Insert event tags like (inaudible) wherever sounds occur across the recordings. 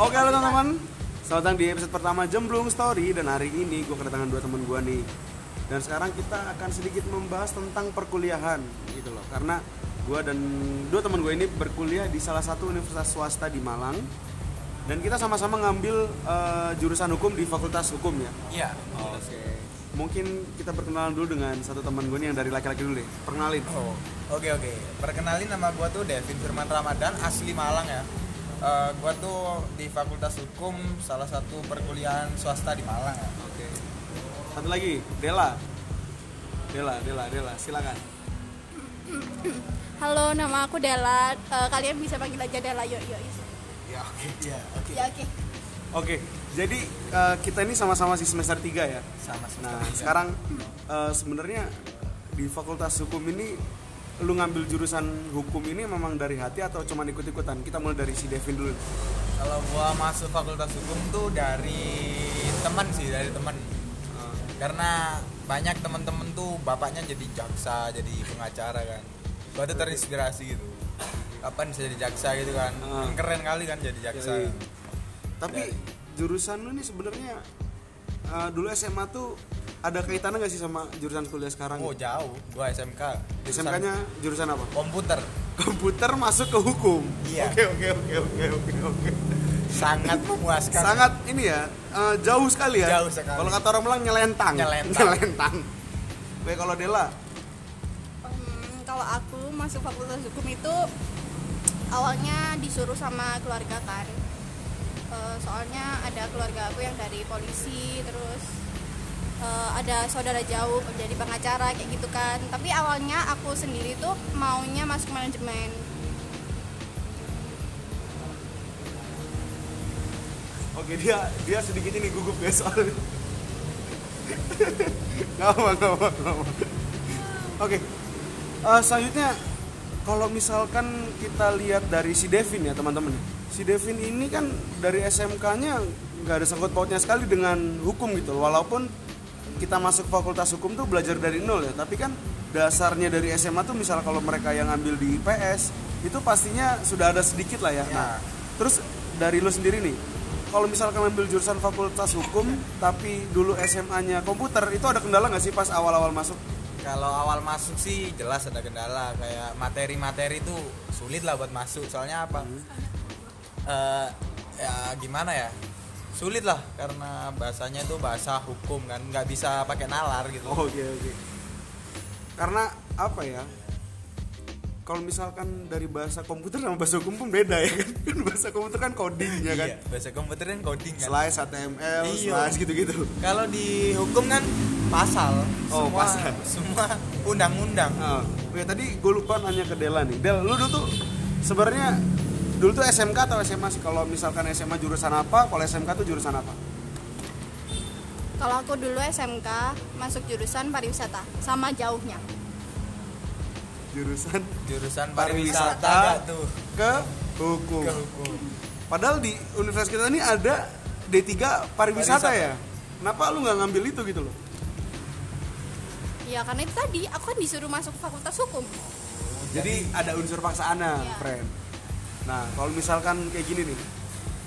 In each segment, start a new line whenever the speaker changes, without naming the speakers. Oke halo teman-teman, selamat datang di episode pertama Jemblung Story dan hari ini gue kedatangan dua teman gue nih. Dan sekarang kita akan sedikit membahas tentang perkuliahan gitu loh, karena gue dan dua teman gue ini berkuliah di salah satu universitas swasta di Malang dan kita sama-sama ngambil eh, jurusan hukum di Fakultas Hukum ya.
Iya.
Oke. Mungkin kita berkenalan dulu dengan satu teman gue nih yang dari laki-laki dulu deh. Perkenalin.
Oh, oke oke. Perkenalin nama gua tuh Devin Firman Ramadan, asli Malang ya. Eh, gua tuh di Fakultas Hukum, salah satu perkuliahan swasta di Malang ya.
Oke. Satu lagi, Dela. Dela, Dela, Dela, silakan.
Halo, nama aku Della. Eh, kalian bisa panggil aja Della. Yuk, yuk. yuk.
Iya, oke. Iya, oke.
Ya, oke.
Oke, jadi eh, kita ini sama-sama di semester 3 ya.
Sama semester
Nah,
tiga.
sekarang eh, sebenarnya di Fakultas Hukum ini lu ngambil jurusan hukum ini memang dari hati atau cuman ikut-ikutan? Kita mulai dari si Devin dulu.
Kalau gua masuk Fakultas Hukum tuh dari teman sih, dari teman.
Eh,
Karena banyak teman-teman tuh bapaknya jadi jaksa, jadi pengacara kan. Gua tuh terinspirasi gitu. Kapan bisa jadi jaksa gitu kan?
Ah.
Keren kali kan jadi jaksa.
Yoi.
iya.
Tapi jurusan lu ini sebenarnya eh, dulu SMA tuh ada kaitannya nggak sih sama jurusan kuliah sekarang?
Oh jauh, gua SMK. jurusan
SMK-nya jurusan apa?
Komputer
Komputer masuk ke hukum.
Iya.
Oke, oke, oke, oke, oke, oke.
sangat memuaskan.
sangat ini ya eh, jauh sekali ya
Jauh sekali.
kalau kata orang bilang nyelentang (laughs)
Nyelentang.
nyelentang Oke, kalau Dela
Hmm, kalau aku masuk fakultas hukum itu awalnya disuruh sama keluarga kan. Eh, soalnya ada keluarga aku yang dari polisi, terus eh, ada saudara jauh jadi pengacara kayak gitu kan. Tapi awalnya aku sendiri tuh maunya masuk manajemen.
oke dia dia sedikit ini gugup ya soalnya (laughs) nggak apa nggak apa, nggak apa. oke eh, selanjutnya kalau misalkan kita lihat dari si Devin ya teman-teman si Devin ini kan dari SMK-nya nggak ada sangkut pautnya sekali dengan hukum gitu walaupun kita masuk fakultas hukum tuh belajar dari nol ya tapi kan dasarnya dari SMA tuh misal kalau mereka yang ngambil di IPS itu pastinya sudah ada sedikit lah ya
Ya.
nah terus dari lu sendiri nih kalau misalkan ngambil jurusan fakultas hukum tapi dulu SMA-nya komputer itu ada kendala nggak sih pas awal-awal masuk
Kalau awal masuk sih jelas ada kendala kayak materi-materi itu sulit lah buat masuk. Soalnya apa?
Hmm.
Eh, ya gimana ya? Sulit lah karena bahasanya itu bahasa hukum kan, nggak bisa pakai nalar gitu.
Oh, Oke oke. Karena apa ya? Kalau misalkan dari bahasa komputer sama bahasa hukum pun beda ya kan? Kan bahasa komputer kan coding ya kan?
Iya, bahasa komputer kan coding kan.
Slice HTML,
Iya.
slice gitu-gitu.
Kalau di hukum kan pasal,
Oh,
semua,
pasal.
semua undang-undang.
Nah, oh ya tadi gue lupa nanya ke Dela nih. Del, lu dulu tuh sebenarnya dulu tuh SMK atau SMA sih? Kalau misalkan SMA jurusan apa, kalau SMK tuh jurusan apa?
Kalau aku dulu SMK masuk jurusan pariwisata sama jauhnya.
Jurusan
Jurusan
Pariwisata.
pariwisata nggak tuh
ke hukum.
ke hukum.
Padahal di universitas kita ini ada D3 pariwisata,
Pariwisata.
ya. Kenapa lu nggak ngambil itu gitu loh?
Ya karena itu tadi aku kan disuruh masuk fakultas hukum.
Jadi ada unsur paksaannya,
Iya.
friend. Nah, kalau misalkan kayak gini nih,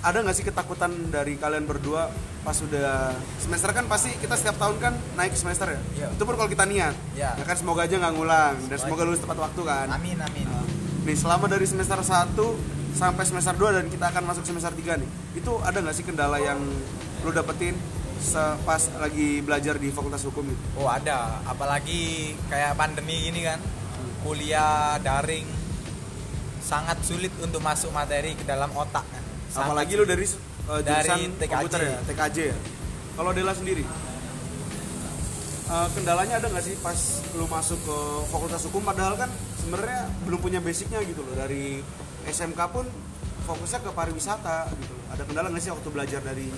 ada nggak sih ketakutan dari kalian berdua pas sudah semester kan pasti kita setiap tahun kan naik semester ya.
Iya.
Itu pun kalau kita niat.
Iya.
Ya kan semoga aja nggak ngulang dan
Semoga
semoga
aja.
lulus tepat waktu kan.
Amin amin.
Nah, Nih selama dari semester 1 sampai semester 2 dan kita akan masuk semester 3 nih. Itu ada nggak sih kendala yang lu dapetin se- pas lagi belajar di Fakultas Hukum itu?
Oh ada, apalagi kayak pandemi gini kan, kuliah daring sangat sulit untuk masuk materi ke dalam otak kan. Sangat
Apalagi lu
sulit.
dari uh,
Dari
jurusan
TKJ.
komputer ya, TKJ ya. Kalau Dela sendiri, uh, kendalanya ada nggak sih pas lu masuk ke Fakultas Hukum? Padahal kan sebenarnya belum punya basicnya gitu loh. Dari SMK pun fokusnya ke pariwisata gitu. Loh. Ada kendala nggak sih waktu belajar dari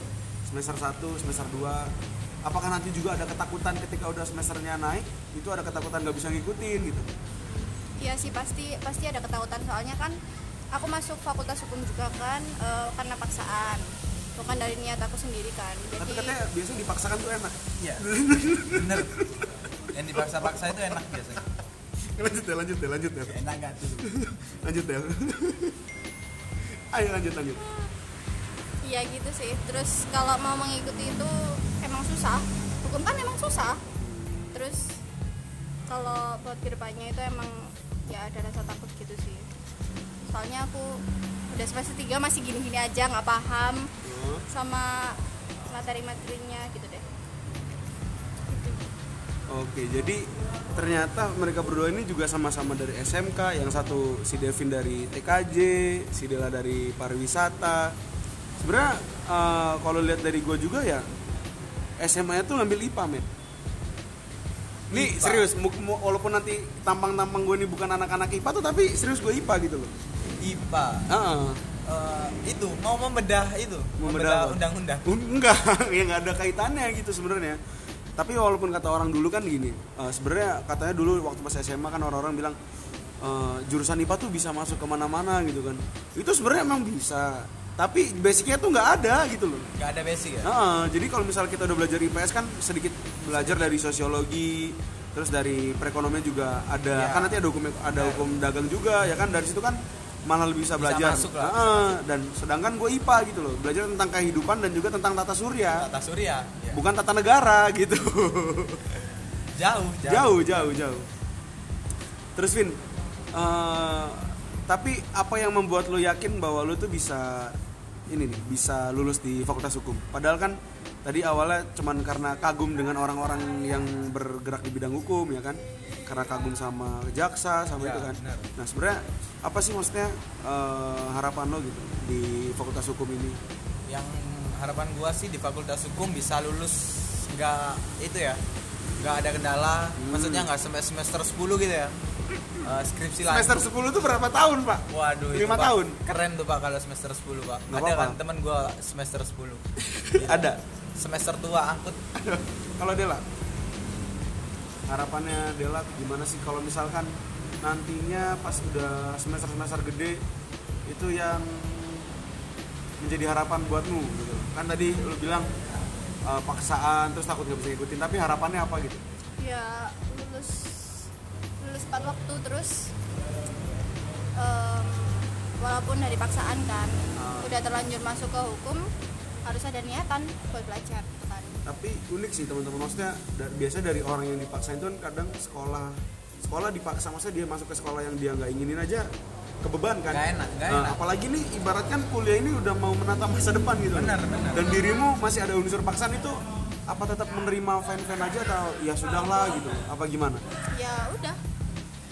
semester 1, semester 2? Apakah nanti juga ada ketakutan ketika udah semesternya naik? Itu ada ketakutan nggak bisa ngikutin gitu?
Iya sih pasti pasti ada ketakutan soalnya kan aku masuk fakultas hukum juga kan eh, karena paksaan bukan dari niat aku sendiri kan.
Tapi
Jadi
katanya biasanya dipaksakan tuh enak. (laughs)
Iya. Bener. Yang dipaksa-paksa itu enak biasanya.
Lanjut deh, lanjut deh, lanjut deh.
Enak gak tuh?
lanjut Del ayo lanjut lanjut
Iya gitu sih. Terus kalau mau mengikuti itu emang susah. Hukum kan emang susah. Terus kalau buat kedepannya itu emang ya ada rasa takut gitu sih. Soalnya aku udah semester tiga masih gini-gini aja nggak paham
Hmm.
sama materi-materinya gitu deh. Gitu.
Oke, jadi ternyata mereka berdua ini juga sama-sama dari SMK. Yang satu si Devin dari TKJ, si Dela dari pariwisata. Sebenarnya eh, kalau lihat dari gue juga ya SMA itu ngambil IPA, men. Nih
IPA.
serius, mu- mu- walaupun nanti tampang-tampang gue ini bukan anak-anak IPA tuh, tapi serius gue IPA gitu loh.
IPA
Heeh.
Eh, itu mau membedah itu
Membedah apa?
undang-undang
Un- enggak (laughs) ya nggak ada kaitannya gitu sebenarnya tapi walaupun kata orang dulu kan gini eh, sebenarnya katanya dulu waktu pas SMA kan orang-orang bilang eh, jurusan IPA tuh bisa masuk kemana-mana gitu kan itu sebenarnya emang bisa tapi basicnya tuh nggak ada gitu loh
nggak ada basic ya
Heeh, jadi kalau misalnya kita udah belajar IPS kan sedikit belajar dari sosiologi terus dari perekonomian juga ada
Iya.
kan nanti ada hukum ada hukum dagang juga ya kan dari situ kan malah lebih bisa
Bisa
belajar
masuk lah.
Heeh, dan sedangkan gue IPA gitu loh belajar tentang kehidupan dan juga tentang tata surya
tata surya ya.
bukan tata negara gitu
(laughs) jauh
jauh jauh jauh terus Vin eh, tapi apa yang membuat lo yakin bahwa lo tuh bisa ini nih bisa lulus di fakultas hukum padahal kan tadi awalnya cuman karena kagum dengan orang-orang yang bergerak di bidang hukum ya kan karena kagum sama jaksa sama
Ya,
itu kan
benar.
nah sebenarnya apa sih maksudnya eh, harapan lo gitu di fakultas hukum ini
yang harapan gua sih di fakultas hukum bisa lulus nggak itu ya nggak ada kendala
Hmm.
maksudnya nggak sampai semester 10 gitu ya Eh, skripsi lain
semester 10 tuh berapa tahun pak
waduh itu,
lima
Pak.
tahun?
keren tuh pak kalau semester 10 pak
Nggak
ada
apa-apa.
kan teman gua semester 10 Gila.
(laughs) ada
semester tua angkut
Aduh, kalau Dela harapannya Dela tuh gimana sih kalau misalkan nantinya pas udah semester semester gede itu yang menjadi harapan buatmu gitu kan tadi lu bilang eh, paksaan terus takut nggak bisa ngikutin tapi harapannya apa gitu
ya lulus lulus tepat waktu terus em, walaupun dari paksaan kan
Ah.
udah terlanjur masuk ke hukum harus ada niatan buat belajar gitu kan
tapi unik sih teman-teman maksudnya da- biasa dari orang yang dipaksain itu kan kadang sekolah sekolah dipaksa maksudnya dia masuk ke sekolah yang dia nggak inginin aja kebeban kan
Nggak enak, nggak
Nah,
enak.
apalagi nih ibaratkan kuliah ini udah mau menata masa depan gitu
Benar, benar.
dan dirimu masih ada unsur paksaan itu apa tetap menerima fan-fan aja atau ya sudahlah gitu apa gimana
ya udah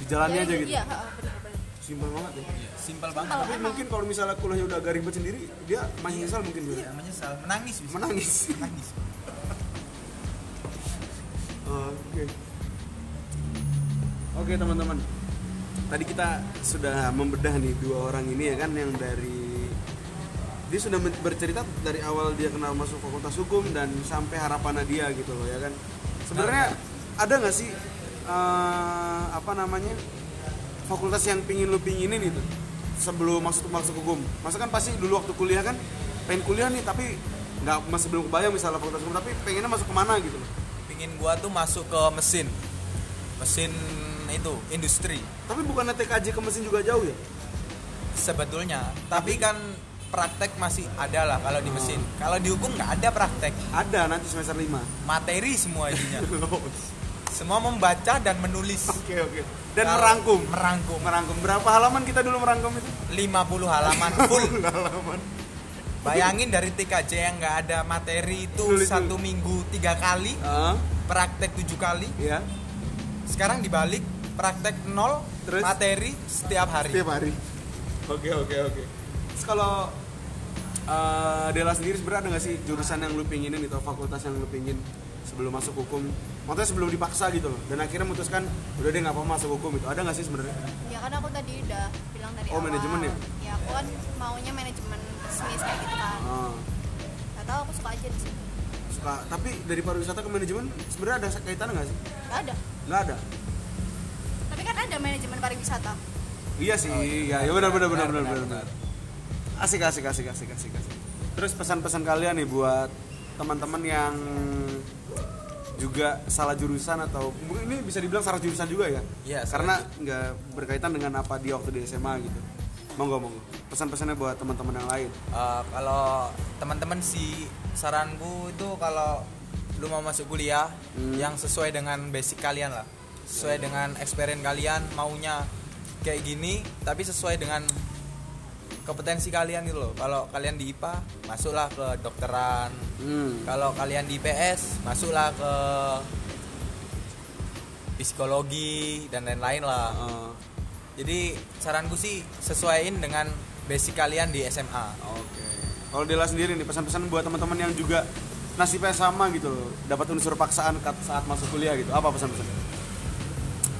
dijalani
Jadi,
aja gitu
iya heeh, bener-bener.
simpel banget ya
simpel banget
kalau
tapi
emang
mungkin kalau misalnya kuliahnya udah agak ribet sendiri dia masih nyesal mungkin gitu
Iya, menyesal menangis bisa.
menangis
menangis
Oke. Oke teman-teman. Tadi kita sudah membedah nih dua orang ini ya kan yang dari dia sudah men- bercerita dari awal dia kenal masuk fakultas hukum dan sampai harapannya dia gitu loh ya kan. Sebenarnya ada nggak sih eh, apa namanya fakultas yang pingin lu pinginin itu sebelum masuk masuk hukum? Masa kan pasti dulu waktu kuliah kan pengen kuliah nih tapi nggak masih belum kebayang misalnya fakultas hukum tapi pengennya masuk kemana gitu loh.
pingin gua tuh masuk ke mesin mesin itu industri
Tapi bukan TKJ ke mesin juga jauh ya?
sebetulnya tapi kan praktek masih ada lah kalau di mesin kalau di hukum nggak ada praktek
Ada nanti semester 5
materi semua isinya
Oke
semua membaca dan menulis
(laughs) oke. Dan
Kalau-
merangkum.
merangkum
Merangkum. Berapa halaman kita dulu merangkum itu?
50 halaman full
(laughs) halaman.
bayangin dari TKJ yang nggak ada materi itu
Nulis
satu minggu tiga kali
Ah,
praktek tujuh kali
ya.
sekarang dibalik praktek nol
Terus?
materi setiap hari
Setiap hari. Oke oke oke. Terus kalau eh, Dela sendiri sebenarnya ada nggak sih jurusan yang lu pinginin atau fakultas yang lu pingin sebelum masuk hukum? Maksudnya sebelum dipaksa gitu loh. Dan akhirnya memutuskan udah deh nggak apa masuk hukum itu. Ada nggak sih sebenarnya?
ya kan aku tadi udah bilang dari
Oh,
awal
manajemen ya?
ya aku kan maunya manajemen bisnis kayak gitu kan
Ah,
gak tau aku suka aja di situ
suka. Tapi dari pariwisata ke manajemen sebenarnya ada kaitan nggak sih?
gak ada
Nggak ada.
tapi kan ada manajemen pariwisata
Iya sih, iya, ya benar benar benar benar benar. Asik asik asik asik asik asik. Terus pesan-pesan kalian nih buat teman-teman yang juga salah jurusan atau mungkin ini bisa dibilang salah jurusan juga ya?
Iya, salah
Karena nggak berkaitan dengan apa dia waktu di SMA gitu. monggo monggo pesan-pesannya buat teman-teman yang lain
Eh, kalau teman-teman sih saranku itu kalau lu mau masuk kuliah yang sesuai dengan basic kalian lah sesuai dengan experience kalian maunya kayak gini tapi sesuai dengan kompetensi kalian gitu loh kalau kalian di IPA masuklah ke dokteran
hmm.
kalau kalian di IPS masuklah ke psikologi dan lain-lain lah
Eh,
jadi saranku sih sesuaiin dengan basic kalian di SMA
Oke. Kalau Dela sendiri nih pesan-pesan buat teman-teman yang juga nasibnya sama gitu loh, dapat unsur paksaan kat- saat masuk kuliah gitu. Apa pesan-pesan?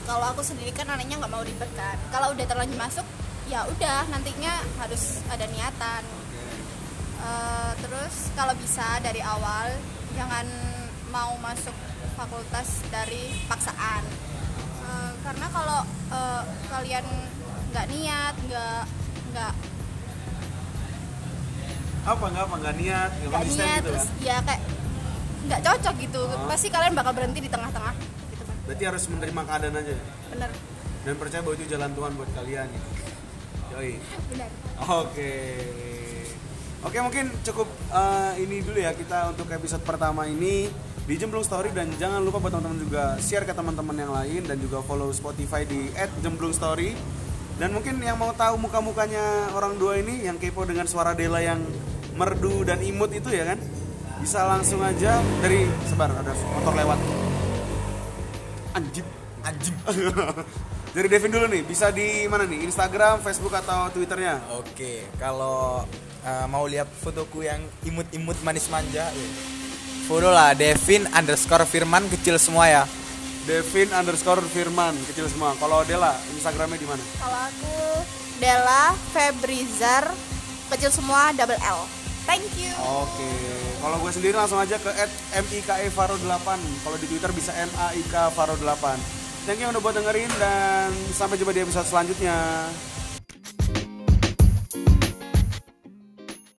kalau aku sendiri kan anaknya nggak mau ribet kan kalau udah terlanjur masuk ya udah nantinya harus ada niatan Eh, terus kalau bisa dari awal jangan mau masuk fakultas dari paksaan Eh, karena kalau eh, kalian nggak niat nggak nggak
Apa nggak apa nggak niat, nggak
nggak
konsisten
niat
gitu
terus
ya?
ya kayak nggak cocok gitu
Oh.
pasti kalian bakal berhenti di tengah-tengah gitu kan
Berarti harus menerima keadaan aja ya?
bener
dan percaya bahwa itu jalan Tuhan buat kalian gitu. Yoi.
bener
Oke. Oke mungkin cukup eh, ini dulu ya kita untuk episode pertama ini di Jemblung Story dan jangan lupa buat teman-teman juga share ke teman-teman yang lain dan juga follow Spotify di @jemblungstory. Dan mungkin yang mau tahu muka-mukanya orang dua ini yang kepo dengan suara Dela yang merdu dan imut itu ya kan? Bisa langsung aja dari sebar ada motor lewat. Anjir.
anjing
(laughs) Dari Devin dulu nih, bisa di mana nih? Instagram, Facebook atau Twitternya?
Oke, kalau uh, mau lihat fotoku yang imut-imut manis manja, ya. follow lah Devin underscore Firman kecil semua ya.
Devin underscore Firman kecil semua. Kalau Dela Instagramnya di mana?
Kalau aku Della Febrizar kecil semua double L. Thank you.
Oke. Kalau gue sendiri langsung aja ke @mikefaro8. E Kalau di Twitter bisa naikfaro8. Thank you udah buat dengerin dan sampai jumpa di episode selanjutnya.